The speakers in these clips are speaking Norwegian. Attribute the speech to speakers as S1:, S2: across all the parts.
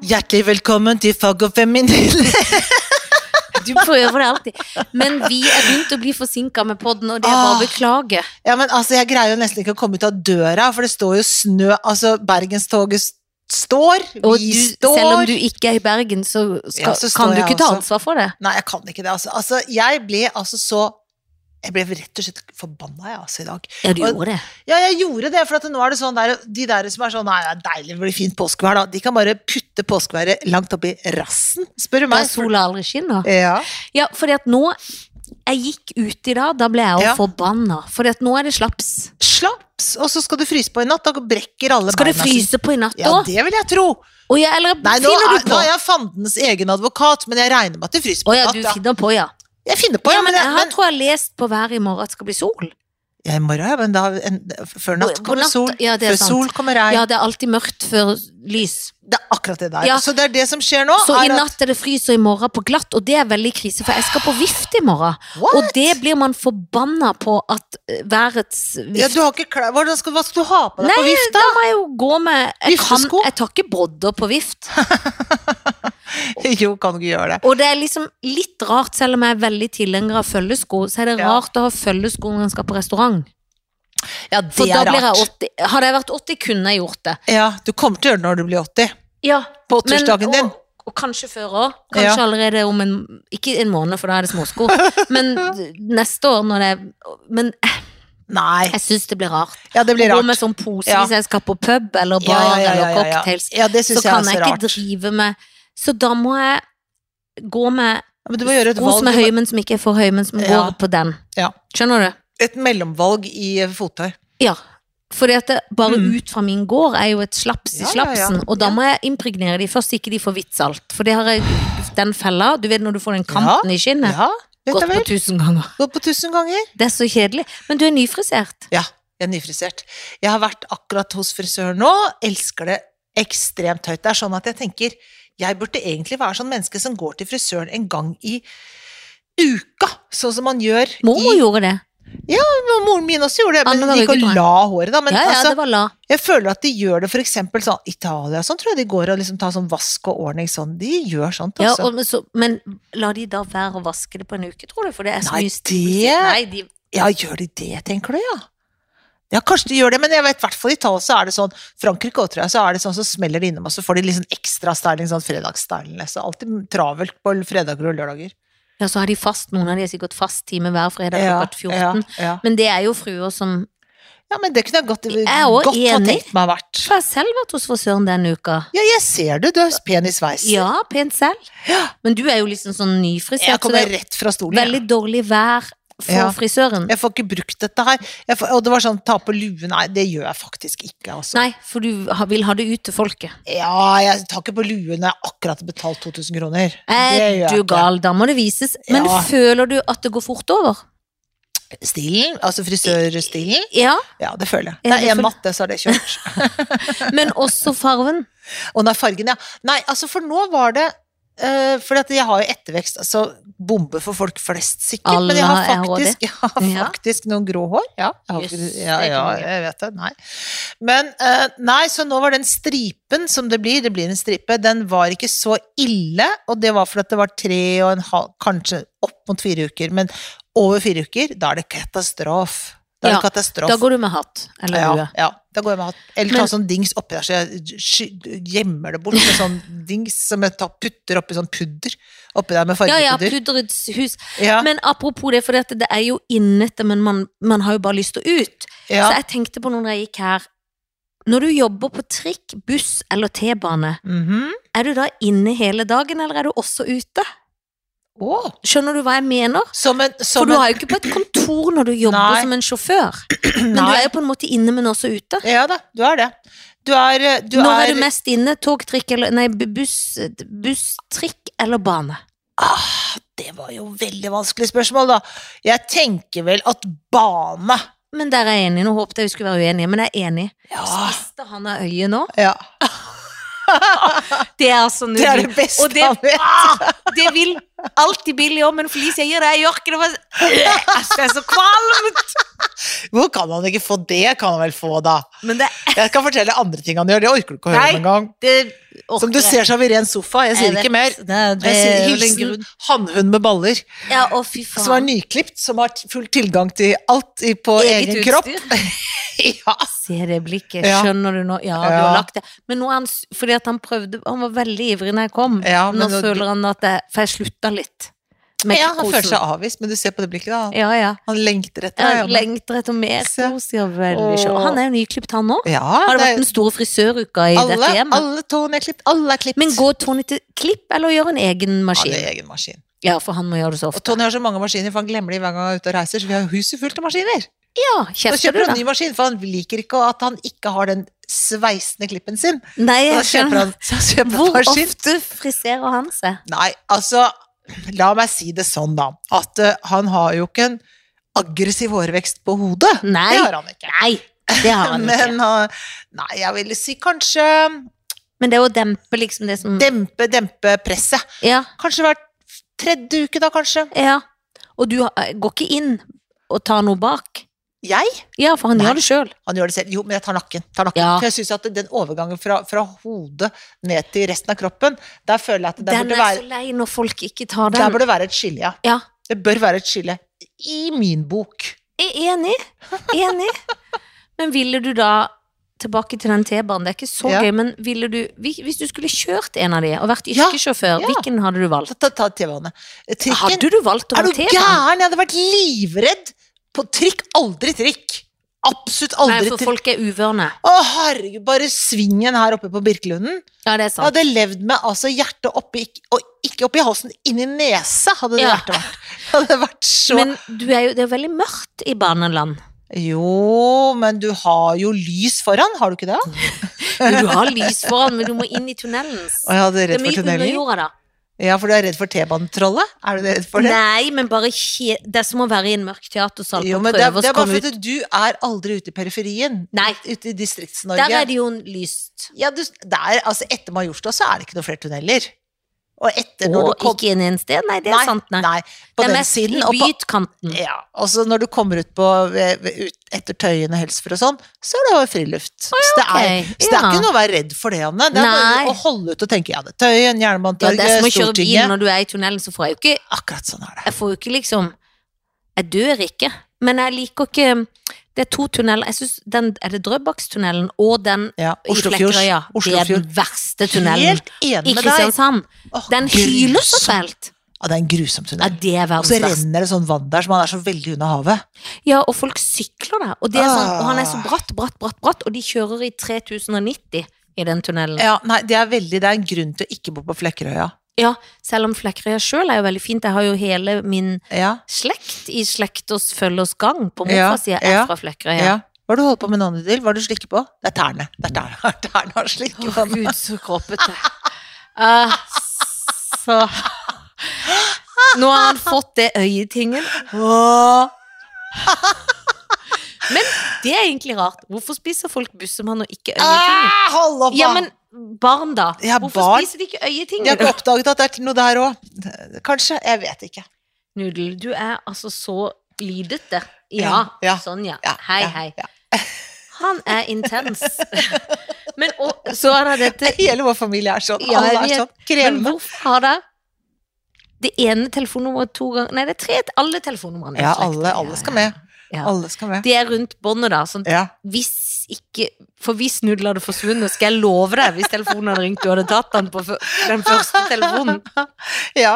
S1: Hjertelig velkommen til Fag og Feminille.
S2: Du prøver det alltid. Men vi er begynt å bli forsinka med podden, og det er bare å
S1: Ah.
S2: beklage.
S1: Ja, men altså, jeg greier jo nesten ikke å komme ut av døra, for det står jo snø Altså, Bergenstoget s- står,
S2: Og
S1: vi
S2: du,
S1: står
S2: selv om du ikke er i Bergen, så, skal,
S1: Ja, så står
S2: kan du
S1: jeg
S2: ikke ta
S1: også.
S2: ansvar for det.
S1: Nei, jeg kan ikke det, altså. altså jeg ble altså så Jeg ble rett og slett forbanna, jeg, altså, i dag.
S2: Ja, du
S1: Og-
S2: gjorde det.
S1: Ja, jeg gjorde det, for at nå er det sånn der De der som er sånn Nei, det er deilig, det blir fint påskevær, da. De kan bare putte påskeværet langt oppi rassen, spør du
S2: Da
S1: meg.
S2: sola aldri skinner.
S1: Ja.
S2: Ja, fordi at nå Jeg gikk ut i dag, da ble jeg jo
S1: Ja.
S2: forbanna. Fordi at nå er det slaps.
S1: Slaps, og så skal du fryse på i natt, da brekker alle
S2: Skal det
S1: beina sine.
S2: fryse på i natt
S1: Ja,
S2: òg?
S1: det vil jeg tro.
S2: ja, eller
S1: Nei, nå
S2: finner
S1: er,
S2: du
S1: nå
S2: på?
S1: er jeg fandens egen advokat, men jeg regner med at det fryser
S2: Å
S1: på
S2: ja,
S1: natt.
S2: du
S1: ja.
S2: finner på, ja.
S1: Jeg finner på,
S2: ja
S1: ja,
S2: men
S1: men,
S2: jeg
S1: men,
S2: har, tror jeg har lest på været i morgen at det skal bli sol.
S1: ja, i morgen, ja, men da, en, før natt
S2: På
S1: kommer
S2: natt,
S1: sol,
S2: ja, det er
S1: før
S2: sant.
S1: sol kommer regn.
S2: Ja, det er alltid mørkt før lys.
S1: Det er akkurat det der.
S2: Ja.
S1: Så det er det som skjer nå.
S2: Så i
S1: er at-
S2: natt er det frys, og i morgen på glatt, og det er veldig krise, for jeg skal på vift i morgen.
S1: What?
S2: Og det blir man forbanna på at eh, værets
S1: ja,
S2: vift
S1: du har ikke klær. Hvordan skal, hva skal du ha på deg
S2: Nei,
S1: på vifta?
S2: da må jeg jo gå med jeg, kan,
S1: Viftesko?
S2: jeg tar ikke brodder på vift.
S1: jo, kan du ikke gjøre det.
S2: Og det er liksom litt rart, selv om jeg er veldig tilhenger av følgesko, så er det
S1: Ja.
S2: rart å ha følgesko når en skal på restaurant.
S1: Ja, det
S2: For da
S1: er
S2: blir jeg
S1: rart.
S2: 80. Hadde jeg vært 80, kunne jeg gjort det.
S1: Ja, du kommer til å gjøre det når du blir 80.
S2: Ja,
S1: På 80-årsdagen din.
S2: Og, og kanskje før òg. Kanskje
S1: Ja.
S2: allerede om en Ikke en måned, for da er det småsko. Men neste år når det er Men
S1: Nei.
S2: jeg syns det blir rart.
S1: Ja, det blir
S2: Gå
S1: rart.
S2: med sånn pose
S1: Ja.
S2: hvis jeg skal på pub eller
S1: Ja,
S2: bar
S1: ja, ja,
S2: eller
S1: ja, ja.
S2: cocktails.
S1: Ja, det
S2: Så
S1: syns jeg
S2: kan
S1: er
S2: jeg
S1: så
S2: ikke
S1: rart.
S2: drive med Så da må jeg gå med
S1: Ja, Men du må gjøre et
S2: sko som er
S1: valg.
S2: høye, men som ikke er for høye, men som
S1: Ja.
S2: går på den.
S1: Ja.
S2: Skjønner du?
S1: Et mellomvalg i eh, fottøy.
S2: Ja. Fordi at det, bare
S1: Mm.
S2: ut fra min gård er jo et slaps i
S1: Ja, ja, ja.
S2: slapsen, og da
S1: Ja.
S2: må jeg impregnere de først, så ikke de får hvitt salt. For det har jeg den fella, du vet når du får den kanten i skinnet,
S1: Ah. Ja, vet
S2: gått
S1: du
S2: på
S1: vel.
S2: tusen ganger.
S1: Gått på tusen ganger.
S2: Det er så kjedelig. Men du er nyfrisert.
S1: Ja, jeg er nyfrisert. Jeg har vært akkurat hos frisøren nå, elsker det ekstremt høyt. Det er sånn at jeg tenker, jeg burde egentlig være sånn menneske som går til frisøren en gang i uka, sånn som man gjør
S2: Mormor
S1: i...
S2: gjorde det.
S1: Men Moren min også gjorde det, men
S2: Anne
S1: de
S2: Marie
S1: gikk og
S2: Guttorm.
S1: la håret da, men
S2: ja, ja, det
S1: altså,
S2: var la.
S1: jeg føler at de gjør det for eksempel sånn, Italia, og sånn tror jeg de går og liksom tar sånn vask og ordning sånn, de gjør sånt
S2: Ja,
S1: også.
S2: og, men så, men la de da være å vaske det på en uke, tror du? For det er så
S1: Nei,
S2: mye st-
S1: det-
S2: Nei, de
S1: Ja, gjør de det, tenker du, ja? Ja, kanskje de gjør det, men jeg vet i hvert fall i Italia så er det sånn Frankrike også, tror jeg, så er det sånn så smeller de innom, og så får de litt sånn ekstra styling, sånn fredagsstyling. Så alltid travelt på fredager og lørdager.
S2: Ja, så har de fast, noen av de har sikkert fast time hver fredag
S1: Ja,
S2: klokka 14.
S1: Ja, ja.
S2: Men det er jo fruer som
S1: ja, men det kunne jeg godt,
S2: er også
S1: godt ha
S2: enig.
S1: tenkt meg vært.
S2: Jeg har selv vært hos frisøren denne uka.
S1: Ja, jeg ser det, du er pen i sveis.
S2: Ja, pent selv. Men du er jo liksom sånn nyfrisert,
S1: jeg
S2: så det
S1: kommer
S2: er
S1: rett fra stolen.
S2: veldig
S1: jeg.
S2: dårlig vær for
S1: Ja.
S2: frisøren.
S1: Jeg får ikke brukt dette her. Jeg får, og det var sånn, ta på lue. Nei, det gjør jeg faktisk ikke, altså.
S2: Nei, for du ha- vil ha det ut til folket.
S1: Ja, jeg tar ikke på lue når jeg akkurat har betalt 2000 kroner. Det
S2: Er
S1: gjør jeg
S2: du
S1: ikke.
S2: gal? Da må det vises. Men
S1: Ja.
S2: føler du at det går fort over?
S1: Stilen, altså frisørstilen.
S2: Ja,
S1: Ja, det føler jeg. Det
S2: Ja, det
S1: er én
S2: føler-
S1: matte, så er det kjørt.
S2: men også farven.
S1: Og nei, fargen, ja. Nei, altså for nå var det uh, For at jeg har jo ettervekst, altså bombe for folk flest, sikkert. men jeg
S2: Alle
S1: har
S2: er også det.
S1: faktisk, jeg har
S2: Ja.
S1: faktisk noen grå hår. Ja, jeg, har,
S2: Jøss,
S1: ikke-
S2: det
S1: ja,
S2: er
S1: ja,
S2: mye.
S1: jeg vet det. Nei. Men eh, nei, så nå var den stripen som det blir, det blir en stripe, den var ikke så ille. Og det var fordi det var tre og en halv, kanskje opp mot fire uker. Men over fire uker, da er det katastrofe. Da er det
S2: Ja,
S1: katastrofe.
S2: Da går du med hatt eller
S1: Ja,
S2: lue.
S1: ja, da går jeg med hatt. Eller ta
S2: Men-
S1: sånn dings oppi der, så jeg sky- gjemmer det bort med sånn dings som jeg tar, putter oppi sånn pudder. Oppi der med
S2: Ja, ja,
S1: fargepudder.
S2: pudrets hus.
S1: Ja,
S2: Men apropos det, for det, det er jo innete, men man, man har jo bare lyst til å ut.
S1: ja,
S2: Så jeg tenkte på noe når jeg gikk her. Når du jobber på trikk, buss eller T-bane,
S1: mhm.
S2: er du da inne hele dagen, eller er du også ute?
S1: Å,
S2: Skjønner du hva jeg mener?
S1: Som en
S2: For
S1: som
S2: du
S1: en-
S2: har jo ikke på et kontor når du jobber
S1: Nei.
S2: som en sjåfør. Men du er
S1: Nei.
S2: jo på en måte inne, men også ute.
S1: Ja da, du er det. Du er eh, du
S2: Når
S1: er,
S2: er du mest inne? Tog, trikk eller Nei, bu- buss, buss trikk eller bane?
S1: ah, Det var jo veldig vanskelig spørsmål, da. Jeg tenker vel at bane
S2: Men der er jeg enig. Nå håpet jeg vi skulle være uenige, men jeg er enig.
S1: Ja.
S2: Spiste han av øyet nå?
S1: ja.
S2: Det er altså
S1: Det er det beste
S2: Og det-
S1: han vet.
S2: Ah, det vil alltid Billy òg, men Felicia gir det. Jeg gjør ikke det. for- Øh, Jeg er så kvalmt!
S1: Hvor kan han ikke få det? Kan han vel få, da?
S2: Men det,
S1: Jeg skal fortelle andre ting han gjør, det orker du ikke å høre
S2: Nei,
S1: om engang.
S2: det
S1: Som du ser, så har vi ren sofa. Jeg sier ikke mer.
S2: Det, det,
S1: Jeg
S2: er
S1: sier
S2: vel en
S1: hilsen
S2: grunn.
S1: hannhund med baller,
S2: Ja, å fy
S1: som er
S2: faen.
S1: nyklipt, som har full tilgang til alt i- på
S2: Eget
S1: egen kropp.
S2: utstyr.
S1: Ja.
S2: Se det blikket,
S1: Ja.
S2: skjønner du nå? Ja, du
S1: Ja.
S2: har lagt det. Men nå er han, s- fordi at han prøvde, han var veldig ivrig når jeg kom.
S1: Ja, men
S2: nå
S1: nå-
S2: føler han at jeg, for jeg slutta litt. med
S1: ja, han
S2: kosen.
S1: føler seg avvist, men du ser på det blikket, da.
S2: Ja, ja.
S1: Han lengter etter deg.
S2: Jeg
S1: Janne.
S2: lengter etter mer
S1: Se.
S2: kos, ja vel. ikke? Og Han er jo nyklipt, han òg.
S1: Ja,
S2: Har det
S1: det
S2: vært
S1: er-
S2: den store frisøruka i
S1: alle,
S2: dette hjemmet?
S1: alle tårene er klipt. Alle er klipt.
S2: Men går Tony til klipp, eller gjør en egen
S1: Han
S2: maskin?
S1: har egen maskin.
S2: Ja, for han må gjøre det så
S1: Og
S2: ofte.
S1: Tony har så mange maskiner, for han glemmer de hver gang han er ute og reiser. Så vi har huset fullt av maskiner.
S2: Ja,
S1: Da
S2: kjefter du,
S1: kjøper han
S2: da?
S1: ny maskin, for han liker ikke at han ikke har den sveisende klippen sin.
S2: Nei,
S1: Så da
S2: jeg
S1: kjøper
S2: skjønner.
S1: han, så han kjøper en
S2: Hvor
S1: maskin.
S2: ofte friserer han seg?
S1: Nei, altså, la meg si det sånn, da. At eh, han har jo ikke en aggressiv hårvekst på hodet.
S2: Nei.
S1: Det har han ikke.
S2: Nei, det har han ikke.
S1: Men eh, nei, jeg ville si kanskje
S2: Men det er å dempe liksom det som
S1: dempe, dempe presset.
S2: Ja,
S1: Kanskje hver tredje uke, da, kanskje.
S2: ja. Og du har- går ikke inn og tar noe bak?
S1: Jeg
S2: Ja, for han
S1: Nei.
S2: gjør det sjøl.
S1: Han gjør det selv. Jo, men jeg tar nakken. Tar nakken.
S2: Ja.
S1: For jeg synes at den overgangen fra, fra hodet ned til resten av kroppen, der føler jeg at der
S2: Den
S1: burde,
S2: er
S1: være,
S2: så lei når folk ikke tar
S1: der
S2: den.
S1: burde være et skille, ja.
S2: Ja.
S1: Det bør være et skille. I min bok.
S2: Jeg er enig. Enig. Men ville du da Tilbake til den T-banen, det er ikke så
S1: Ja.
S2: gøy, men ville du hvi- Hvis du skulle kjørt en av de og vært
S1: Ja,
S2: yrkessjåfør,
S1: ja.
S2: hvilken hadde du valgt?
S1: Ta, ta, ta T-banen. Trikken.
S2: Hadde du valgt å
S1: Er
S2: ha
S1: du
S2: T-banen?
S1: gæren? Jeg hadde vært livredd på trikk. Aldri trikk. Absolutt
S2: Nei,
S1: aldri
S2: for
S1: trikk.
S2: folk er uvørne.
S1: Å, herregud, bare svingen her oppe på Birkelunden.
S2: Ja, det er
S1: Jeg
S2: sant.
S1: hadde levd med altså, hjertet oppi, og ikke oppi halsen, inni nesa hadde det
S2: Ja.
S1: hjertet vært. Det hadde vært så
S2: Men du er jo, det er jo veldig mørkt i baneland.
S1: Jo, men du har jo lys foran, har du ikke det?
S2: Du har lys foran, men du må inn i tunnelen.
S1: Å ja, du er
S2: Det er
S1: redd for
S2: mye under
S1: tunneler?
S2: jorda, da.
S1: Ja, for du er redd for T-banetrollet? Er du redd for det?
S2: Nei, men bare kje, det er som å være i en mørk teatersal
S1: Jo,
S2: og
S1: men det er,
S2: prøve
S1: det er
S2: å
S1: bare
S2: komme ut.
S1: fordi du er aldri ute i periferien.
S2: Nei.
S1: Ute i Distrikts-Norge.
S2: Der er det jo lyst.
S1: Ja, du, der, altså etter Majorstua så er det ikke noe flere tunneler. Og etter når
S2: Og
S1: du kom...
S2: ikke inn i en sted. Nei, det er sant, nei.
S1: Nei, på
S2: Det er
S1: den
S2: mest
S1: siden.
S2: i
S1: Og på,
S2: byutkanten.
S1: ja, og så når du kommer ut på ved- ved- ut, etter Tøyen og Helsfyr og sånn, så er det jo friluft. så det er,
S2: ok,
S1: så det er
S2: ja.
S1: ikke noe å være redd for det, Anne. Det er
S2: Nei.
S1: bare å holde ut og tenke ja, det er Tøyen,
S2: Ja, det er som
S1: Jernbanetorget,
S2: å kjøre bil
S1: Stortinget.
S2: når du er i tunnelen, så får jeg jo ikke
S1: Akkurat sånn er det.
S2: Jeg får jo ikke liksom Jeg dør ikke, men jeg liker ikke Det er to tunneler. Jeg synes den Er det Drøbakstunnelen og den
S1: Ja,
S2: i
S1: Oslofjords.
S2: Flekkerøya? Det er
S1: Oslofjord.
S2: den verste tunnelen
S1: Helt enig
S2: i
S1: med deg.
S2: Kristiansand.
S1: Åh,
S2: Den
S1: grusom.
S2: hyler så fælt.
S1: Ja, det er en grusom
S2: Ja,
S1: tunnel.
S2: det er
S1: Og så
S2: verdens verste.
S1: renner det sånn vann der som han er så veldig unna havet.
S2: Ja, og folk sykler der. Og, det er sånn, og han er så
S1: Ah.
S2: bratt, bratt, bratt, bratt, og de kjører i 3090 i den tunnelen.
S1: Ja, nei, det er veldig, det er en grunn til å ikke bo på Flekkerøya.
S2: Ja, selv om Flekkerøya sjøl er jo veldig fint. Jeg har jo hele min
S1: Ja,
S2: slekt i slekters følgers gang på
S1: Ja,
S2: morfars side er
S1: ja,
S2: fra Flekkerøya.
S1: ja. Hva har du holdt på med navnet til? Hva har du slikket på? Det er tærne. Det er tærne, tærne har slikket
S2: Å,
S1: på. den.
S2: gud, så kroppete. Ah, så Nå har han fått det øyetingen.
S1: Åh,
S2: Men det er egentlig rart. Hvorfor spiser folk bussemann og ikke øyetingen?
S1: ah, hold opp, da!
S2: Ja, men barn, da.
S1: Ja,
S2: Hvorfor
S1: barn.
S2: spiser de ikke øyetingen?
S1: De har ikke oppdaget at det er noe der òg. Kanskje. Jeg vet ikke.
S2: Nudel, du er altså så lidete.
S1: Ja,
S2: Ja,
S1: ja,
S2: sånn ja.
S1: Ja,
S2: Hei,
S1: ja,
S2: hei.
S1: ja.
S2: Han er intens. Men og, så er det dette
S1: Hele vår familie er sånn.
S2: Ja, jeg
S1: Alle er
S2: vet.
S1: sånn
S2: Men
S1: krevende.
S2: hvorfor har det det ene telefonnummeret to ganger Nei, det er tre. Alle telefonnumrene. er
S1: Ja,
S2: slektet.
S1: alle, alle skal med.
S2: Ja.
S1: Alle skal med.
S2: Det er rundt båndet, da. Sånn,
S1: Ja.
S2: hvis ikke For hvis Nudel hadde forsvunnet, skal jeg love deg, hvis telefonen hadde ringt, du hadde tatt den på fø- den første telefonen.
S1: ja.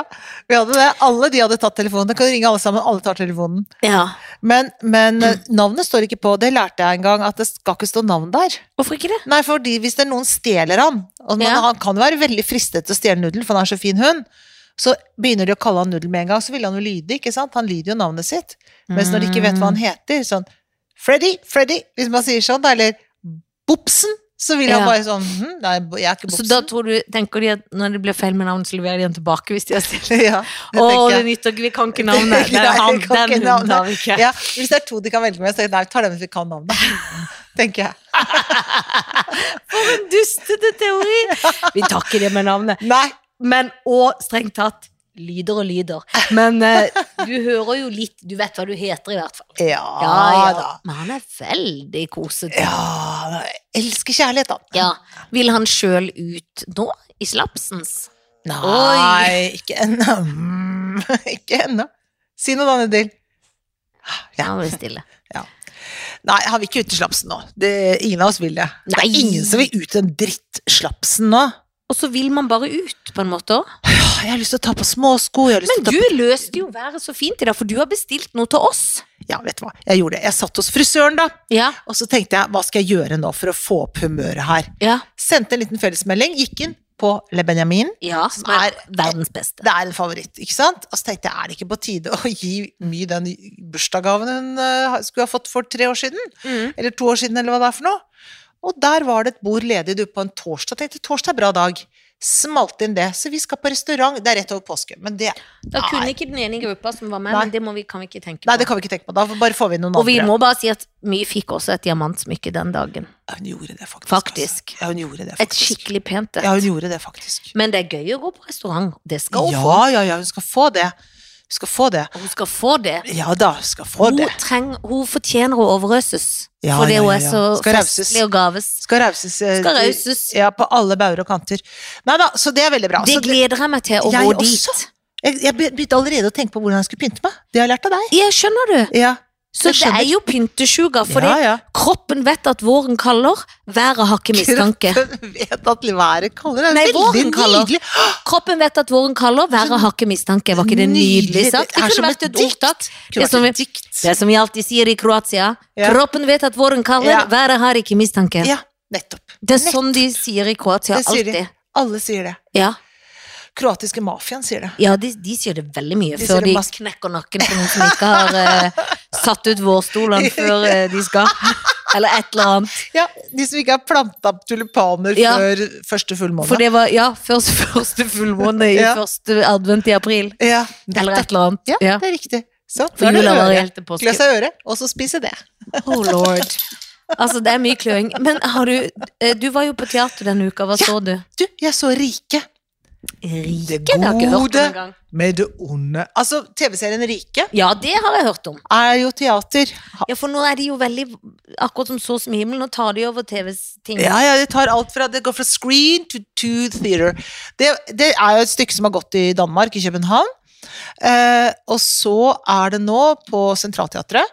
S1: Vi hadde det. Alle de hadde tatt telefonen. Da kan du ringe alle sammen. Alle tar telefonen.
S2: Ja.
S1: Men, men eh, navnet står ikke på. Det lærte jeg en gang, at det skal ikke stå navn der.
S2: Hvorfor ikke det?
S1: Nei, fordi hvis det er noen stjeler han, og man,
S2: Ja.
S1: han kan jo være veldig fristet til å stjele Nudel, for han er så fin hund, så begynner de å kalle han Nudel med en gang, så vil han jo lyde, ikke sant? Han lyder jo navnet sitt. Mens når de ikke vet hva han heter, sånn Freddy, Freddy, hvis man sier sånn, da, eller Bobsen, så vil han
S2: Ja.
S1: bare sånn hm, Nei, jeg er ikke
S2: Så
S1: Bobsen.
S2: da tror du, tenker de at når det blir feil med navn, så leverer de den tilbake hvis de har stilt?
S1: ja, det
S2: Å,
S1: tenker
S2: det
S1: jeg.
S2: nytter ikke, vi kan ikke navnet.
S1: Nei,
S2: Det er han,
S1: vi kan
S2: den
S1: ikke navnet.
S2: hunden har vi ikke.
S1: Ja, hvis det er to de kan velge med, så tenker jeg, nei, vi tar dem hvis vi kan navnet. tenker jeg.
S2: Dustete teori! Vi tar ikke det med navnet.
S1: Nei.
S2: Men og strengt tatt, lyder og lyder. Men eh, du hører jo litt Du vet hva du heter, i hvert fall.
S1: Ja, Ah, da.
S2: Men han er veldig kosete.
S1: Ja, da. elsker kjærlighet, da.
S2: Ja. Vil han sjøl ut nå? I slapsens?
S1: Nei,
S2: Oi.
S1: ikke ennå. Mm, ikke ennå. Si noe, da, Nedil. Ja.
S2: Han blir stille.
S1: Nei, han vil ikke ut i slapsen nå. Det, ingen av oss vil det. Det
S2: Nei.
S1: er ingen som vil ut i den drittslapsen nå.
S2: Og så vil man bare ut, på en måte òg.
S1: Åh, Jeg har lyst til å ta på småsko. Jeg har lyst
S2: Men
S1: til å ta
S2: du
S1: på...
S2: løste jo været så fint i dag, for du har bestilt noe til oss.
S1: Ja, vet du hva. Jeg gjorde det. Jeg satt hos frisøren, da.
S2: Ja.
S1: Og så tenkte jeg, hva skal jeg gjøre nå for å få opp humøret her?
S2: Ja.
S1: Sendte en liten fellesmelding. Gikk inn på Le Benjamin.
S2: ja
S1: Som
S2: som er
S1: er-
S2: verdens beste.
S1: Det er en favoritt, ikke sant? Og så tenkte jeg, er det ikke på tide å gi My den bursdagsgaven hun eh, skulle ha fått for tre år siden?
S2: Mm.
S1: Eller to år siden, eller hva det er for noe? Og der var det et bord ledig du, på en torsdag. Tenkte torsdag er bra dag. Smalt inn det. Så vi skal på restaurant. Det er rett over påske. Men det,
S2: Da kunne ikke den ene i gruppa som var med,
S1: Nei.
S2: men det må vi, kan vi ikke tenke på.
S1: nei, det kan vi ikke tenke på. Da bare får vi inn noen
S2: Og vi
S1: andre.
S2: må bare si at My fikk også et diamantsmykke den dagen.
S1: Ja, hun gjorde det, faktisk.
S2: Faktisk.
S1: Altså. Ja, hun gjorde det,
S2: Et
S1: faktisk.
S2: skikkelig pent
S1: Ja, hun
S2: et.
S1: gjorde det, faktisk.
S2: Men det er gøy å gå på restaurant. Det skal hun få.
S1: Ja, ja, ja, hun skal få det. Hun skal få det.
S2: Og Hun skal få det.
S1: Ja da, hun skal få
S2: Hun,
S1: det.
S2: treng, hun fortjener å overøses,
S1: Ja,
S2: fordi
S1: ja,
S2: hun
S1: ja,
S2: er
S1: ja.
S2: så
S1: Skal rauses.
S2: festlig og gaves.
S1: Skal rauses. eh,
S2: Skal rauses.
S1: Ja, på alle bauger og kanter. Nei da, så det er veldig bra.
S2: Det
S1: Så det,
S2: gleder jeg meg til å
S1: Jeg
S2: gå
S1: også.
S2: dit.
S1: jeg, jeg begynte allerede å tenke på hvordan jeg skulle pynte meg. Det har jeg lært av deg.
S2: Ja, skjønner du?
S1: Ja,
S2: Så
S1: Jeg
S2: det
S1: skjønner.
S2: er jo pyntesjuga, for
S1: ja, ja.
S2: kroppen vet at våren kaller, været har ikke mistanke.
S1: Kroppen vet at været kaller. Det
S2: Nei,
S1: er veldig
S2: våren kaller.
S1: nydelig.
S2: Kroppen vet at våren kaller, været har ikke mistanke. Var ikke det nydelig sagt? Det
S1: er som
S2: kunne vært et ordtak.
S1: Det kunne
S2: Det som
S1: vært et dikt.
S2: Det er som vi alltid sier i Kroatia.
S1: Ja.
S2: Kroppen vet at våren kaller,
S1: Ja.
S2: været har ikke mistanke.
S1: Ja, nettopp.
S2: Det er sånn de sier i Kroatia
S1: Det sier de.
S2: alltid.
S1: Alle sier det.
S2: Ja,
S1: Kroatiske mafiaen sier det.
S2: ja de, de sier det veldig mye
S1: De sier
S2: før
S1: det
S2: de
S1: masse.
S2: knekker nakken på noen som ikke har eh, satt ut vårstolene før eh, de skal. Eller et eller annet.
S1: Ja, De som ikke har planta tulipaner
S2: Ja.
S1: før første fullmåne.
S2: For det var ja, først, første fullmåne i
S1: Ja.
S2: første advent i april.
S1: ja,
S2: Eller
S1: nettopp.
S2: et eller annet.
S1: Ja,
S2: Ja.
S1: det er riktig. Så, nå
S2: For
S1: er det
S2: jula var
S1: øre.
S2: helt til
S1: Klø
S2: påske.
S1: seg i øret, og så spise det.
S2: Oh lord. Altså, det er mye kløing. Men har du eh, Du var jo på teater denne uka, hva
S1: Ja.
S2: så du?
S1: Du, jeg så Rike.
S2: Rike,
S1: Det
S2: det har jeg ikke hørt
S1: gode.
S2: om engang.
S1: Med det onde Altså, TV-serien Rike
S2: Ja, det har jeg hørt om.
S1: er jo teater. Ha-
S2: Ja, for nå er de jo veldig Akkurat som så som i himmelen, nå tar de over TV-ting.
S1: Ja, ja, det tar alt fra Det går fra screen to, to theater. Det, det er jo et stykke som har gått i Danmark, i København. Eh, og så er det nå på Sentralteatret.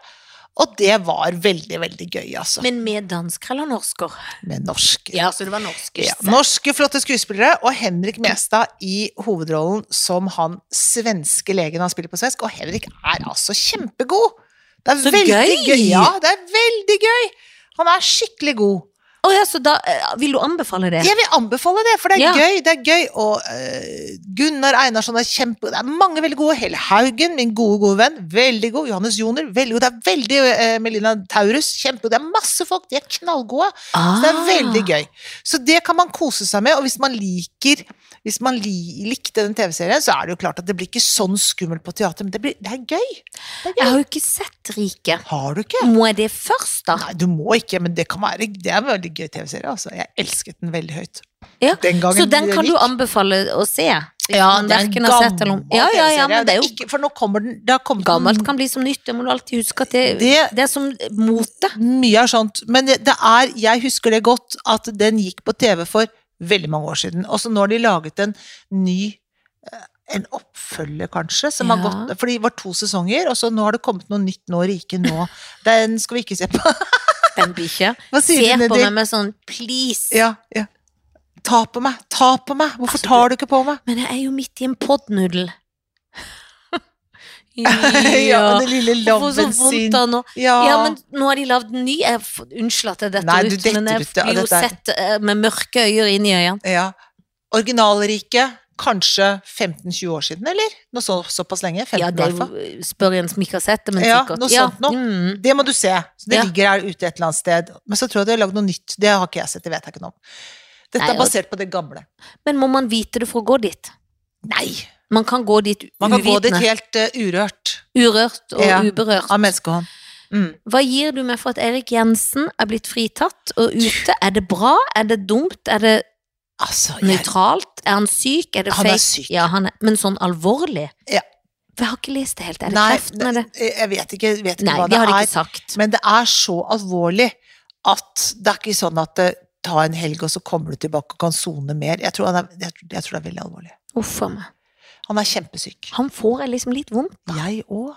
S1: Og det var veldig, veldig gøy, altså.
S2: Men med dansker eller norsker?
S1: Med norsk.
S2: Ja, så det var norsker.
S1: Ja, norske, flotte skuespillere, og Henrik Mestad i hovedrollen som han svenske legen han spiller på svensk. Og Henrik er altså kjempegod! Det er
S2: Så
S1: veldig
S2: gøy!
S1: Ja, det er veldig gøy! Han er skikkelig god.
S2: Å ja, så da eh, Vil du anbefale det?
S1: Jeg vil anbefale det, for det er
S2: Ja.
S1: gøy. Det er gøy. Og eh, Gunnar Einarsson er kjempe... Det er mange veldig gode. Helle Haugen, min gode, gode venn. Veldig god. Johannes Joner, veldig god. Det er veldig eh, Melina Taurus, kjempegod. Det er masse folk. De er knallgode.
S2: Ah.
S1: Så det er veldig gøy. Så det kan man kose seg med, og hvis man liker hvis man li likte den TV-serien, så er det jo klart at det blir ikke sånn skummelt på teater, men det, blir, det er gøy. Det
S2: Jeg
S1: er gøy.
S2: har jo ikke sett Rike.
S1: Har du ikke?
S2: Må jeg det først, da?
S1: Nei, du må ikke, men det kan være Det er en veldig gøy TV-serie, altså. Jeg elsket den veldig høyt.
S2: Ja,
S1: Den gangen
S2: Så den
S1: jeg
S2: kan du
S1: gikk.
S2: anbefale å se?
S1: det
S2: hvis man
S1: er en
S2: verken har sett eller-
S1: gammel
S2: Ja, ja, ja, men
S1: TV-serie.
S2: det er jo
S1: ikke, For nå kommer den Det har kommet
S2: Gammelt kan bli som nytt, det må du alltid huske at det, det,
S1: Mm. Det-
S2: er som mote.
S1: mye av sånt. Men det, det er Jeg husker det godt at den gikk på TV for veldig mange år siden. Og så nå har de laget en ny eh, en oppfølger, kanskje, som har
S2: Ja.
S1: gått For det var to sesonger, og så nå har det kommet noe nytt nå, Rike nå. Den skal vi ikke se på.
S2: Den bikkja
S1: Hva sier
S2: ser
S1: du,
S2: på meg
S1: Nedil?
S2: med sånn please.
S1: Ja, ja. Ta på meg! Ta på meg! Hvorfor
S2: Altså,
S1: tar du ikke på meg?
S2: Men jeg er jo midt i en podnudel.
S1: ja,
S2: ja.
S1: den lille
S2: Hvorfor så
S1: labben
S2: vondt
S1: sin.
S2: av nå?
S1: Ja.
S2: Ja, men nå har de lagd en ny. Jeg, f- unnskyld at jeg detter
S1: Nei, du
S2: ut, men
S1: detter
S2: jeg
S1: ut, ja,
S2: blir jo
S1: dette er-
S2: sett eh, med mørke øyne inn i øynene.
S1: ja. Originalrike, kanskje 15-20 år siden, eller? Noe så, såpass lenge? 15
S2: Ja, det
S1: i hvert fall.
S2: er jo, spør en som ikke har sett det, men
S1: Ja,
S2: sikkert.
S1: noe sånt nå.
S2: Mm.
S1: Det må du se. Så det
S2: Ja.
S1: ligger her ute et eller annet sted. Men så tror jeg de har lagd noe nytt. Det har ikke jeg sett. Det vet jeg ikke noe om. Dette
S2: Nei,
S1: er
S2: og-
S1: basert på det gamle.
S2: Men må man vite det for å gå dit?
S1: Nei!
S2: Man kan gå dit
S1: Man kan gå dit
S2: uvitende.
S1: helt eh, urørt
S2: Urørt og
S1: Ja.
S2: uberørt.
S1: av menneskehånd. Mm.
S2: Hva gir du meg for at Erik Jensen er blitt fritatt og ute? Er det bra? Er det dumt? Er det
S1: Altså, jeg,
S2: Nøytralt? Er han syk? Er det
S1: Han
S2: fake?
S1: er syk.
S2: Ja, han er, men sånn alvorlig?
S1: Ja.
S2: For jeg har ikke lest det helt. Er det
S1: nei,
S2: kreften? Er det?
S1: jeg vet ikke, vet ikke
S2: Nei,
S1: hva
S2: det
S1: det
S2: har de
S1: er.
S2: ikke sagt.
S1: Men det er så alvorlig at det er ikke sånn at eh, ta en helg, og så kommer du tilbake og kan sone mer. Jeg tror, han er, jeg, tror- jeg tror det er veldig alvorlig.
S2: Uff a meg.
S1: Han er kjempesyk.
S2: Han får jeg liksom litt vondt.
S1: Jeg òg.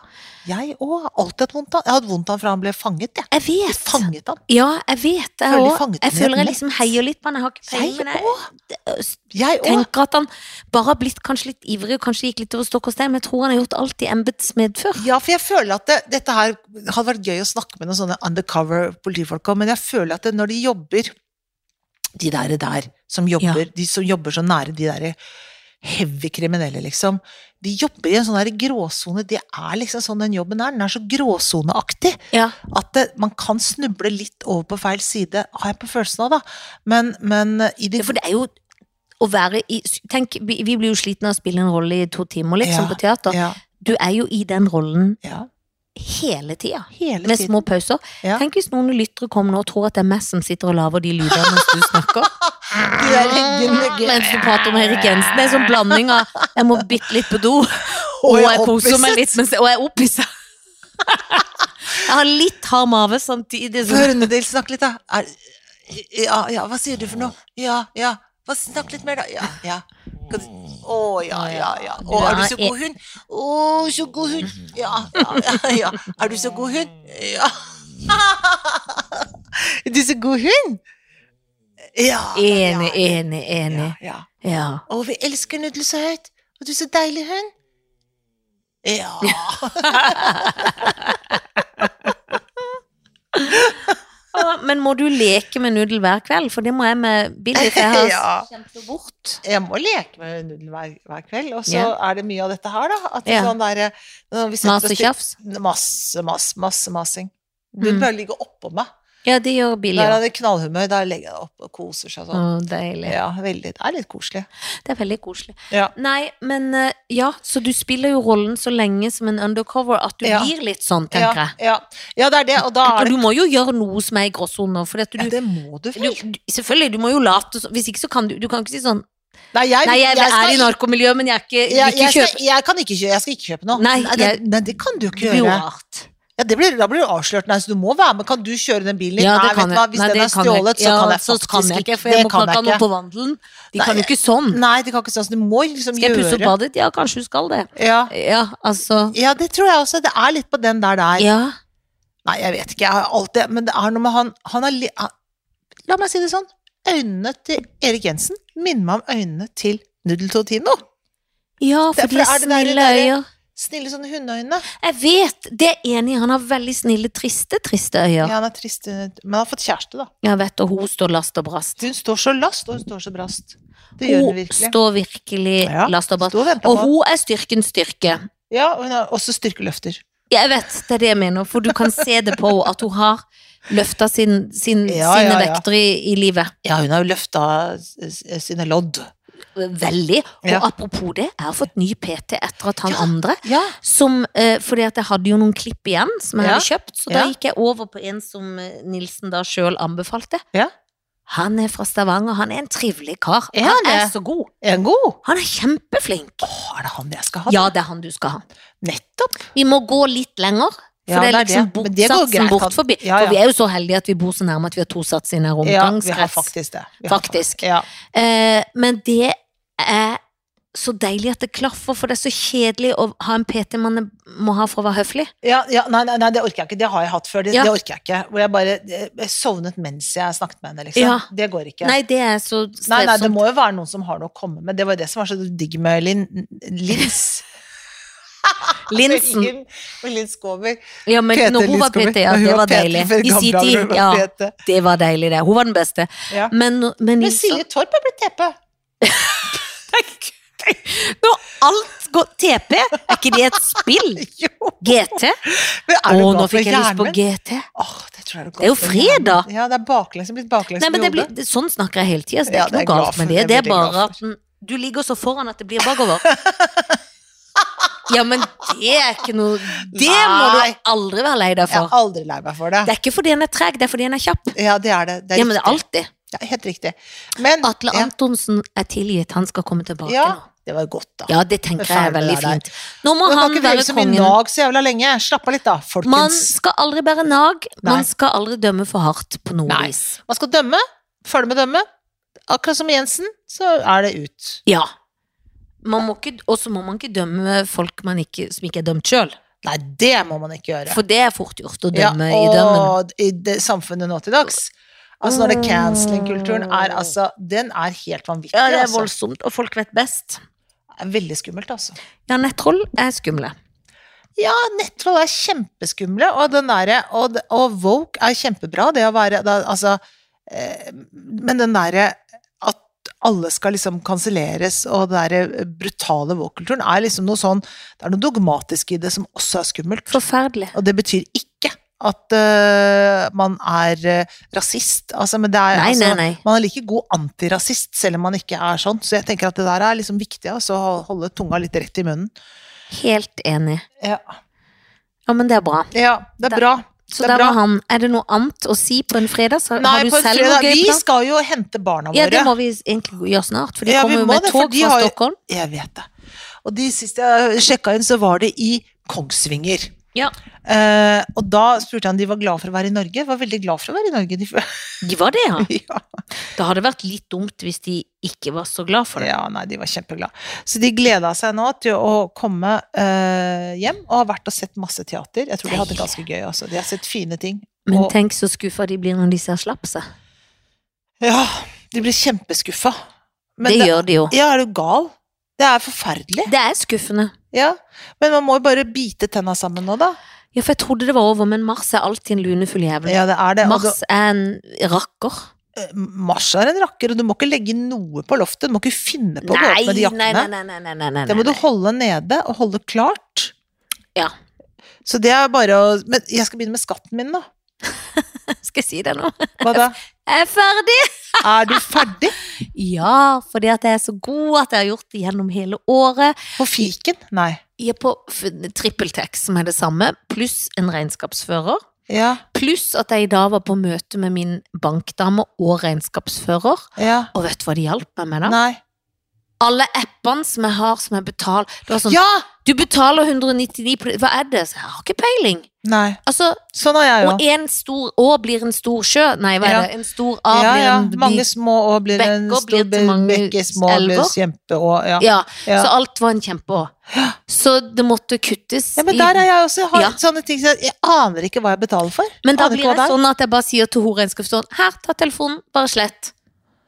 S1: Jeg òg har alltid hatt vondt av Jeg har hatt vondt av han fra han ble fanget, jeg.
S2: Jeg
S1: Jeg
S2: vet.
S1: fanget han.
S2: Ja, jeg vet det
S1: Føler de
S2: òg.
S1: fanget den
S2: Jeg
S1: i
S2: føler
S1: et
S2: jeg liksom
S1: nett.
S2: heier litt på han. Jeg har ikke peiling,
S1: Jeg
S2: men jeg
S1: òg.
S2: d-
S1: Jeg òg.
S2: tenker at han bare har blitt kanskje litt ivrig, og kanskje gikk litt over stokk og stein, men jeg tror han har gjort alt i embets medfør.
S1: Ja, for jeg føler at det, dette her hadde vært gøy å snakke med noen sånne undercover politifolk om, men jeg føler at det, når de jobber, de der, der som jobber, de som jobber så nære de der heavy kriminelle, liksom, de jobber i en sånn der gråsone. Det er liksom sånn den jobben er. Den er så gråsoneaktig
S2: Ja.
S1: at det, man kan snuble litt over på feil side, har jeg på følelsen av, da. Men, men i de
S2: Ja, for det er jo å være i Tenk, vi vi blir jo slitne av å spille en rolle i to timer, litt
S1: Ja,
S2: som på teater.
S1: ja,
S2: Du er jo i den rollen
S1: ja,
S2: hele tida.
S1: hele
S2: Med små
S1: tiden.
S2: pauser.
S1: Ja.
S2: Tenk hvis noen lyttere kommer nå og tror at det er meg som sitter og lager de lydene mens du snakker.
S1: De der ryggene-
S2: Mens du prater om Erik Jensen. Det er en sånn blanding av 'jeg må bitte litt på do', og
S1: Å, jeg
S2: 'jeg
S1: er
S2: koser meg
S1: opphisset.
S2: litt', mens jeg, og 'jeg er opphisset'. Jeg har litt hard mage samtidig som
S1: Få høre Nils snakke litt, da. Er, ja, ja, hva sier du for noe? Ja, ja. Hva, snakk litt mer, da. Ja, ja. Kan du- Å, ja, ja, ja. Å, er e du så god hund? Å, så god hund. Ja, ja, ja, ja. Er du så god hund? Ja. Er du så god hund? Ja. ja,
S2: Enig, enig,
S1: Ja,
S2: enig.
S1: ja.
S2: Ja.
S1: Å, vi elsker nudler så høyt. Og du er så deilig hund. Ja.
S2: Ja, Men må du leke med nudel hver kveld? For det må jeg med Billy, for jeg har
S1: Ja.
S2: kjent det bort.
S1: jeg må leke med nudel hver, hver kveld, og så
S2: Ja.
S1: er det mye av dette her, da. At det
S2: Ja.
S1: sånn der, eh, når vi setter oss
S2: Mas og
S1: til-
S2: tjafs.
S1: Masse, masse, masse masing. Du
S2: Mm.
S1: bør ligge oppå meg.
S2: Ja, det gjør Billy.
S1: Der er
S2: også.
S1: det knallhumør, der legger jeg deg opp og koser seg sånn.
S2: Å, deilig.
S1: Ja, veldig, det er litt koselig.
S2: Det er veldig koselig.
S1: Ja.
S2: Nei, men eh, ja, så du spiller jo rollen så lenge som en undercover at du
S1: Ja.
S2: blir litt sånn, tenker
S1: Ja,
S2: jeg.
S1: ja. ja, det er det, og da er
S2: Og
S1: det
S2: du må jo gjøre noe som er i gråsoner, for at
S1: ja,
S2: du,
S1: Det må du
S2: du
S1: vel?
S2: du- Selvfølgelig, du må jo late som Hvis ikke så kan du Du kan ikke si sånn
S1: Nei, jeg,
S2: Nei, jeg,
S1: skal
S2: er i
S1: ikke-
S2: narkomiljøet, men jeg er
S1: jeg,
S2: ikke, vil ikke
S1: jeg, skal,
S2: kjøpe
S1: jeg kan ikke kjøpe, jeg skal ikke kjøpe noe.
S2: Nei,
S1: det,
S2: jeg-
S1: nei, det kan du jo
S2: Det
S1: ikke
S2: blir jo
S1: gjøre.
S2: rart.
S1: Ja, det blir, da blir du avslørt. Nei, så du må være med. Kan du kjøre den bilen?
S2: Ja,
S1: nei,
S2: det
S1: vet
S2: kan
S1: du
S2: jeg.
S1: hva, hvis
S2: Nei,
S1: den
S2: det
S1: er
S2: kan jeg
S1: stjålet,
S2: ikke. ja,
S1: så kan jeg
S2: så
S1: faktisk
S2: kan jeg ikke, for
S1: det
S2: jeg må
S1: kan
S2: kan
S1: jeg
S2: ikke ha noe
S1: ikke.
S2: på vandelen. De
S1: Nei,
S2: kan jo ikke sånn.
S1: Nei, det kan ikke sånn. Du må liksom
S2: Skal jeg pusse opp
S1: gjøre
S2: badet? Ja, kanskje du skal det.
S1: ja.
S2: Ja, altså
S1: ja, det tror jeg også. Det er litt på den der der.
S2: Ja.
S1: Nei, jeg vet ikke. Jeg har alltid Men det er noe med han Han er li... han- La meg si det sånn. Øynene til Erik Jensen minner meg om øynene til Nudel Totino.
S2: Ja, for
S1: for
S2: de er
S1: er det der-
S2: snille
S1: det der-
S2: øyer.
S1: Snille sånne hundeøyne.
S2: Jeg vet, det er jeg enig i. Han har veldig snille, triste, triste
S1: Ja.
S2: øyer.
S1: han er trist, men han har fått kjæreste, da.
S2: Jeg vet, og hun står last og brast.
S1: Hun står så last, og hun står så brast. Det gjør hun
S2: Hun
S1: virkelig.
S2: står virkelig
S1: Ja,
S2: last og brast.
S1: Står og venter
S2: Og
S1: på
S2: hun er styrkens styrke.
S1: Ja, og hun har også styrkeløfter.
S2: Jeg vet, det er det jeg mener, for du kan se det på henne at hun har løfta sin, sin,
S1: Ja,
S2: sine
S1: ja, ja.
S2: vekter i, i livet.
S1: Ja, hun har jo løfta s- s- sine lodd.
S2: Veldig. Og
S1: Ja.
S2: apropos det, jeg har fått ny PT etter at han
S1: Ja.
S2: andre
S1: Ja.
S2: Som, eh, fordi at jeg hadde jo noen klipp igjen som jeg
S1: Ja.
S2: hadde kjøpt, så da
S1: Ja.
S2: gikk jeg over på en som eh, Nilsen da sjøl anbefalte.
S1: Ja.
S2: Han er fra Stavanger, han er en trivelig kar.
S1: Er han
S2: han er
S1: det?
S2: så god.
S1: Er den god?
S2: Han er kjempeflink.
S1: Åh, er det han jeg skal ha?
S2: Ja, det er han du skal ha.
S1: Nettopp!
S2: Vi må gå litt lenger. For
S1: Ja,
S2: det er
S1: det er
S2: liksom
S1: det. Men det går
S2: bortsatsen
S1: greit,
S2: bort
S1: han-
S2: forbi.
S1: Ja, ja.
S2: For vi er jo så heldige at vi bor så nærme at vi har to satser i nær
S1: Ja, vi har
S2: omgangskrets.
S1: faktisk det. Vi har
S2: Faktisk.
S1: Ja.
S2: Eh, men det er så deilig at det klaffer, for det er så kjedelig å ha en PT man må ha for å være høflig.
S1: Ja, ja, nei, nei, nei, det orker jeg ikke. Det har jeg hatt før. Det,
S2: Ja.
S1: det orker jeg ikke. Hvor jeg bare eh, jeg sovnet mens jeg snakket med henne, liksom.
S2: Ja.
S1: Det går ikke.
S2: Nei, det er så
S1: nei, nei, det
S2: strevsomt.
S1: må jo være noen som har noe å komme med. Det var jo det som var så digg med Lin, Lins.
S2: Altså, Linsen.
S1: Lin- Med Linn Skåber.
S2: Ja, men
S1: Peter
S2: når hun var
S1: Linn Skåber.
S2: PT, ja,
S1: Når hun
S2: det var
S1: Peter
S2: deilig.
S1: før
S2: I
S1: gamle
S2: sin
S1: dager,
S2: tid,
S1: hun var
S2: ja.
S1: Peter.
S2: Det var deilig, det. Hun var den beste.
S1: Ja.
S2: Men, men
S1: Men
S2: Nilsson-
S1: Silje Torp har blitt TP.
S2: Når alt går TP, er ikke det et spill?
S1: Jo!
S2: GT?
S1: Men
S2: Å,
S1: er du
S2: nå
S1: gal
S2: fikk
S1: for
S2: jeg lyst på
S1: hjernen?
S2: GT.
S1: Åh, det, tror jeg
S2: Det er jo
S1: godt for
S2: fredag.
S1: hjernen. Ja, det er baklengs. Det er blitt baklengs
S2: Nei,
S1: på
S2: men det blir,
S1: hodet.
S2: det, sånn snakker jeg hele tida, så det
S1: Ja,
S2: er
S1: det
S2: ikke noe
S1: er
S2: galt
S1: glad
S2: med
S1: for.
S2: det.
S1: Det
S2: Det
S1: er veldig
S2: er
S1: glad
S2: bare at den- du ligger så foran at det blir bakover. Ja, men det er ikke noe Det må
S1: Nei.
S2: du aldri være lei deg
S1: Jeg
S2: for.
S1: er aldri lei meg for det.
S2: Det er ikke fordi en er treg, det er fordi en er kjapp.
S1: Ja, det er det. det er
S2: Ja, men det er
S1: riktig.
S2: alltid.
S1: Ja, helt riktig. Men
S2: Atle
S1: ja,
S2: Antonsen er tilgitt, han skal komme tilbake
S1: ja,
S2: nå.
S1: det var godt, da.
S2: Ja, det tenker jeg er
S1: Ferdig
S2: veldig
S1: der, der.
S2: fint. Nå må
S1: Man kan
S2: han
S1: ikke
S2: være
S1: dvele så mye
S2: kongen.
S1: nag så jævla lenge. Slapp av litt, da,
S2: Man
S1: folkens.
S2: skal aldri bære nag,
S1: Nei.
S2: man skal aldri dømme for hardt på noe
S1: Nei.
S2: vis.
S1: Man skal dømme. Følge med dømme. Akkurat som Jensen, så er det ut.
S2: Ja. Man må ikke, og så må man ikke dømme folk man ikke, som ikke er dømt sjøl.
S1: Nei, det må man ikke gjøre.
S2: For det er fort gjort å
S1: Ja,
S2: dømme i dømmen.
S1: Og i det samfunnet nå til dags. Altså når det canceling-kulturen er altså Den er helt vanvittig,
S2: Ja, det er
S1: altså.
S2: voldsomt, og folk vet best.
S1: Det er veldig skummelt, altså.
S2: Ja, nettroll er skumle.
S1: Ja, nettroll er kjempeskumle, og den derre og, det- og woke er kjempebra, det å være da, Altså eh, Men den derre at alle skal liksom kanselleres, og den derre brutale woke-kulturen er liksom noe sånn Det er noe dogmatisk i det som også er skummelt.
S2: Forferdelig.
S1: Og det betyr ikke at eh, man er eh, rasist, altså, men det er
S2: Nei,
S1: altså,
S2: nei, nei.
S1: Man er like god antirasist selv om man ikke er sånn, så jeg tenker at det der er liksom viktig, altså, å holde tunga litt rett i munnen.
S2: Helt enig.
S1: Ja,
S2: Ja, men det er bra.
S1: ja det er
S2: Det-
S1: bra.
S2: Så
S1: Det er
S2: der var
S1: bra.
S2: han. Er det noe annet å si på en fredag? Så
S1: Nei,
S2: har du
S1: på en
S2: selv noe
S1: fredag
S2: gøy
S1: Vi
S2: plan?
S1: skal jo hente barna
S2: Ja, det
S1: våre.
S2: må vi egentlig gjøre snart, for de
S1: Ja, vi
S2: kommer jo
S1: må
S2: med
S1: det, for
S2: tog
S1: de
S2: fra
S1: har jo-
S2: Stockholm.
S1: Jeg vet det. Og de sist jeg sjekka inn, så var det i Kongsvinger.
S2: Ja.
S1: Eh, og da spurte jeg om de var glad for å være i Norge. Var veldig glad for å være i Norge. De,
S2: De var det, ja.
S1: ja.
S2: Det hadde vært litt dumt hvis de ikke var så glad for det.
S1: Ja, nei, de var kjempeglade. Så de gleda seg nå til å komme eh, hjem, og har vært og sett masse teater. Jeg tror de hadde det ganske gøy også. De har sett fine ting.
S2: Men
S1: Og-
S2: tenk så skuffa de blir når de ser slapset.
S1: Ja, de ble kjempeskuffa. Men
S2: det, gjør de jo.
S1: Ja, er du gal? Det er forferdelig.
S2: Det er skuffende.
S1: Ja. Men man må jo bare bite tenna sammen nå, da.
S2: Ja, for jeg trodde det var over, men Mars er alltid en lunefull jævel.
S1: Ja, det er det. Og
S2: Mars er en rakker.
S1: da- eh, Mars er en rakker, og du må ikke legge noe på loftet. Du må ikke finne på å gå
S2: Nei,
S1: opp med de
S2: nei, nei,
S1: jakkene.
S2: nei, nei, nei, nei, nei.
S1: Det må du holde nede, og holde klart.
S2: Ja.
S1: Så det er bare å Men jeg skal begynne med skatten min, da.
S2: Skal jeg si det nå?
S1: Hva da?
S2: Jeg er ferdig!
S1: Er du ferdig?
S2: Ja, fordi at jeg er så god at jeg har gjort det gjennom hele året.
S1: På fiken? Nei.
S2: Jeg er på f- trippeltex, som er det samme, pluss en regnskapsfører.
S1: Ja,
S2: Pluss at jeg i dag var på møte med min bankdame og regnskapsfører.
S1: ja.
S2: Og vet du hva de hjalp meg med da?
S1: Nei.
S2: Alle appene som jeg har, som jeg betaler Det var sånn
S1: Ja!
S2: Du betaler 199 pl- Hva er det? Så jeg har ikke peiling.
S1: Nei.
S2: Altså,
S1: Sånn har jeg jo.
S2: og en stor å blir en stor sjø. Nei, hva er
S1: Ja.
S2: det? En stor a
S1: ja,
S2: blir
S1: ja.
S2: en
S1: Mange små og blir det en
S2: bekker
S1: stor
S2: blir til mange
S1: bekke, små blir
S2: elver.
S1: kjempe og ja.
S2: ja.
S1: Ja.
S2: Så alt var en kjempeå. Så det måtte kuttes.
S1: ja, men
S2: i-
S1: der er jeg også. Jeg har
S2: Ja.
S1: sånne ting som jeg, jeg aner ikke hva jeg betaler for.
S2: men da
S1: aner ikke
S2: blir
S1: hva det
S2: jeg
S1: er.
S2: sånn at jeg bare sier til hun regnskapsføreren Her, ta telefonen. Bare slett.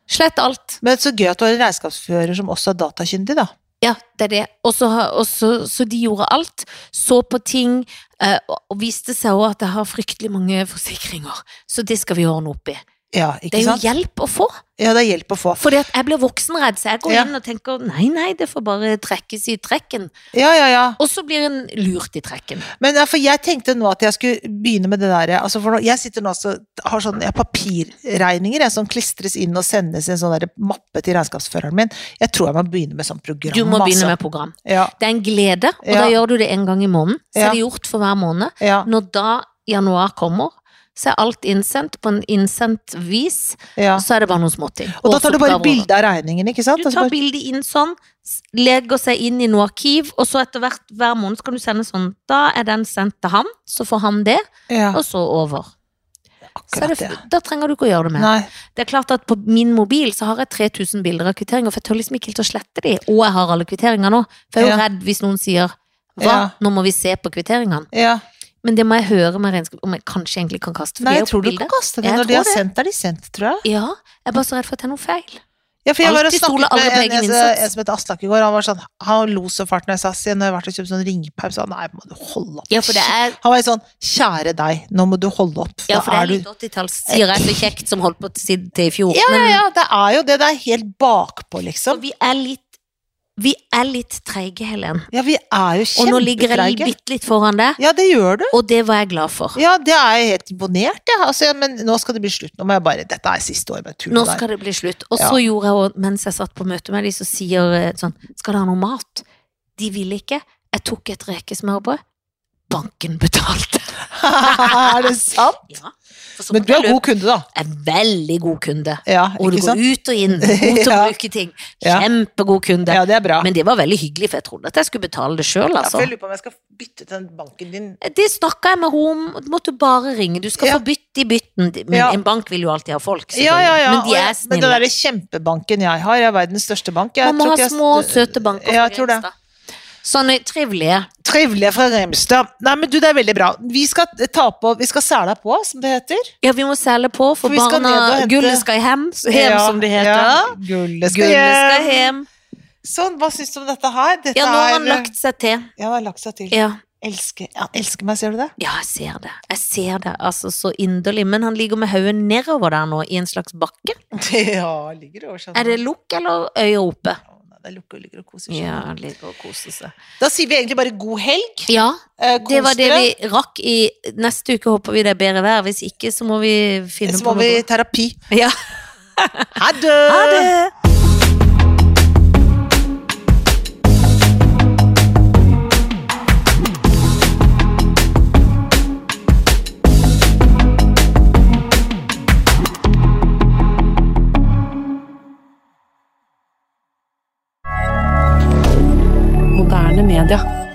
S2: Slett alt.
S1: Men så gøy at du har en regnskapsfører som også er datakyndig, da.
S2: Ja, det er det. Og så, har- og så, så de gjorde alt. Så på ting. eh, og- og viste seg òg at jeg har fryktelig mange forsikringer. Så det skal vi ordne opp i.
S1: Ja,
S2: Det
S1: ikke
S2: er jo
S1: sant?
S2: hjelp å få.
S1: Ja, det er hjelp å få.
S2: Fordi at jeg blir voksenredd, så jeg går
S1: Ja.
S2: inn og tenker nei, nei, det får bare trekkes i trekken.
S1: Ja, ja, ja.
S2: Og så blir en lurt i trekken.
S1: Men ja, for jeg tenkte nå at jeg skulle begynne med det derre altså for nå- Jeg sitter nå også har sånn jeg har papirregninger jeg, som klistres inn og sendes i en sånn der mappe til regnskapsføreren min. Jeg tror jeg må begynne med sånn program.
S2: Du må begynne
S1: altså.
S2: med program.
S1: Ja,
S2: Det er en glede, og
S1: Ja.
S2: da gjør du det en gang i måneden. Så
S1: Ja.
S2: er det gjort for hver måned.
S1: ja,
S2: Når da januar kommer, så er alt innsendt på en innsendt vis,
S1: ja.
S2: og så er det bare noen småting.
S1: Og da tar du bare
S2: Årsoppgaver.
S1: bilde av regningen, ikke sant? Altså,
S2: Du
S1: Og så
S2: tar
S1: bare-
S2: bildet inn sånn, s- legger seg inn i noe arkiv, og så etter hvert hver måned kan du sende sånn. Da er den sendt til han, så får han det,
S1: ja,
S2: og så over. Så er
S1: akkurat
S2: det,
S1: det.
S2: da trenger du ikke å gjøre det mer.
S1: Nei,
S2: Det er klart at på min mobil så har jeg 3000 bilder av kvitteringer, for jeg tør liksom ikke helt å slette de, og jeg har alle kvitteringer nå. For jeg er jo redd hvis noen sier hva,
S1: Ja.
S2: nå må vi se på kvitteringene.
S1: ja.
S2: Men det må jeg høre med regnskap om jeg kanskje egentlig kan kaste, for
S1: Nei
S2: de er
S1: jeg
S2: jo
S1: tror
S2: på
S1: du kan
S2: bildet.
S1: kaste det.
S2: Jeg
S1: Når de
S2: tror
S1: har
S2: det.
S1: sendt er de sendt, tror jeg.
S2: Ja, jeg er bare så redd for at det er noe feil.
S1: Ja, for jeg var og
S2: Alltid
S1: snakket
S2: stole aldri på
S1: med en,
S2: egen
S1: en,
S2: innsats.
S1: en som het Aslak i går. Han var sånn, han lo så fælt når jeg sa «Se, når jeg har vært og kjøpt sånn ringepaus. Så han, nei, må du holde opp.
S2: Ja, for det er,
S1: Han var jo sånn, kjære deg, nå må du holde opp.
S2: ja,
S1: Da
S2: for det
S1: er
S2: er
S1: du
S2: litt 80-talls, sier jeg så kjekt som holdt på til til i fjor.
S1: Ja,
S2: men
S1: ja, ja, det er jo det. Det er helt bakpå,
S2: så
S1: liksom.
S2: vi er litt, vi er litt treige, Helen.
S1: Ja, vi er jo
S2: Og nå ligger jeg
S1: kjempetreige.
S2: bitte litt foran deg,
S1: Ja, det gjør du.
S2: og det var jeg glad for.
S1: Ja, det er jeg helt imponert, jeg. Altså, ja, men nå skal det bli slutt. Nå må jeg bare Dette er siste år med turen
S2: Nå
S1: der.
S2: skal det bli slutt. Og
S1: Ja.
S2: så gjorde jeg også, mens jeg satt på møte med de, så sier eh, sånn, skal du ha noe mat? De ville ikke. Jeg tok et rekesmørbrød, banken betalte.
S1: er det sant?
S2: Ja, for så
S1: Men
S2: mange
S1: du er
S2: beløp.
S1: god kunde, da.
S2: En veldig god kunde.
S1: Ja,
S2: Og du
S1: ikke
S2: går
S1: sant?
S2: ut og inn, god til å
S1: Ja.
S2: bruke ting.
S1: Ja.
S2: Kjempegod kunde.
S1: Ja, det er bra.
S2: Men det var veldig hyggelig, for jeg trodde at jeg skulle betale det sjøl,
S1: Ja, for
S2: altså.
S1: jeg lurer på om jeg skal bytte til den banken din.
S2: Det snakka jeg med henne om, du måtte bare ringe. Du skal
S1: Ja.
S2: få bytte i bytten. Men
S1: Ja.
S2: en bank vil jo alltid ha folk,
S1: Ja, ja, ja.
S2: selvfølgelig. Men
S1: og-
S2: de er
S1: men den
S2: snille.
S1: derre kjempebanken jeg har, jeg er verdens største bank. Jeg
S2: Man må
S1: tror
S2: ha
S1: ikke jeg-
S2: små, søte banker.
S1: Ja,
S2: fra
S1: jeg tror det.
S2: Grimstad. Sånne trivelige.
S1: Trivelige fra Remstad. Nei, men du, det er veldig bra. Vi skal ta på, vi skal sæla på, som det heter.
S2: Ja, vi må selge på, for
S1: For vi skal ned og
S2: barna
S1: hente-
S2: Gullet skal hjem, så- hjem
S1: Ja,
S2: som det heter.
S1: Ja, gullet skal
S2: Gullet skal
S1: hjem.
S2: hjem.
S1: Sånn, hva syns du om dette her? Dette
S2: Ja, nå har
S1: er-
S2: han lagt seg til.
S1: Ja, han har lagt seg til.
S2: Ja.
S1: Elsker, ja, elsker meg, ser du det?
S2: Ja, jeg ser det. Jeg ser det, altså så inderlig. Men han ligger med hodet nedover der nå, i en slags bakke.
S1: Ja, ligger over sånn.
S2: Er det lukk eller øya oppe?
S1: Å, nei, Det er lukket og ligger og koser seg.
S2: Ja, han ligger og koser seg.
S1: Da sier vi egentlig bare god helg.
S2: Ja,
S1: Eh,
S2: det
S1: kos
S2: var det
S1: dere.
S2: vi rakk i Neste uke håper vi det er bedre vær. Hvis ikke, så må vi finne
S1: Så må
S2: på
S1: vi i
S2: noe.
S1: terapi.
S2: Ja.
S1: Ha det!
S2: Ha det!
S3: moderne media.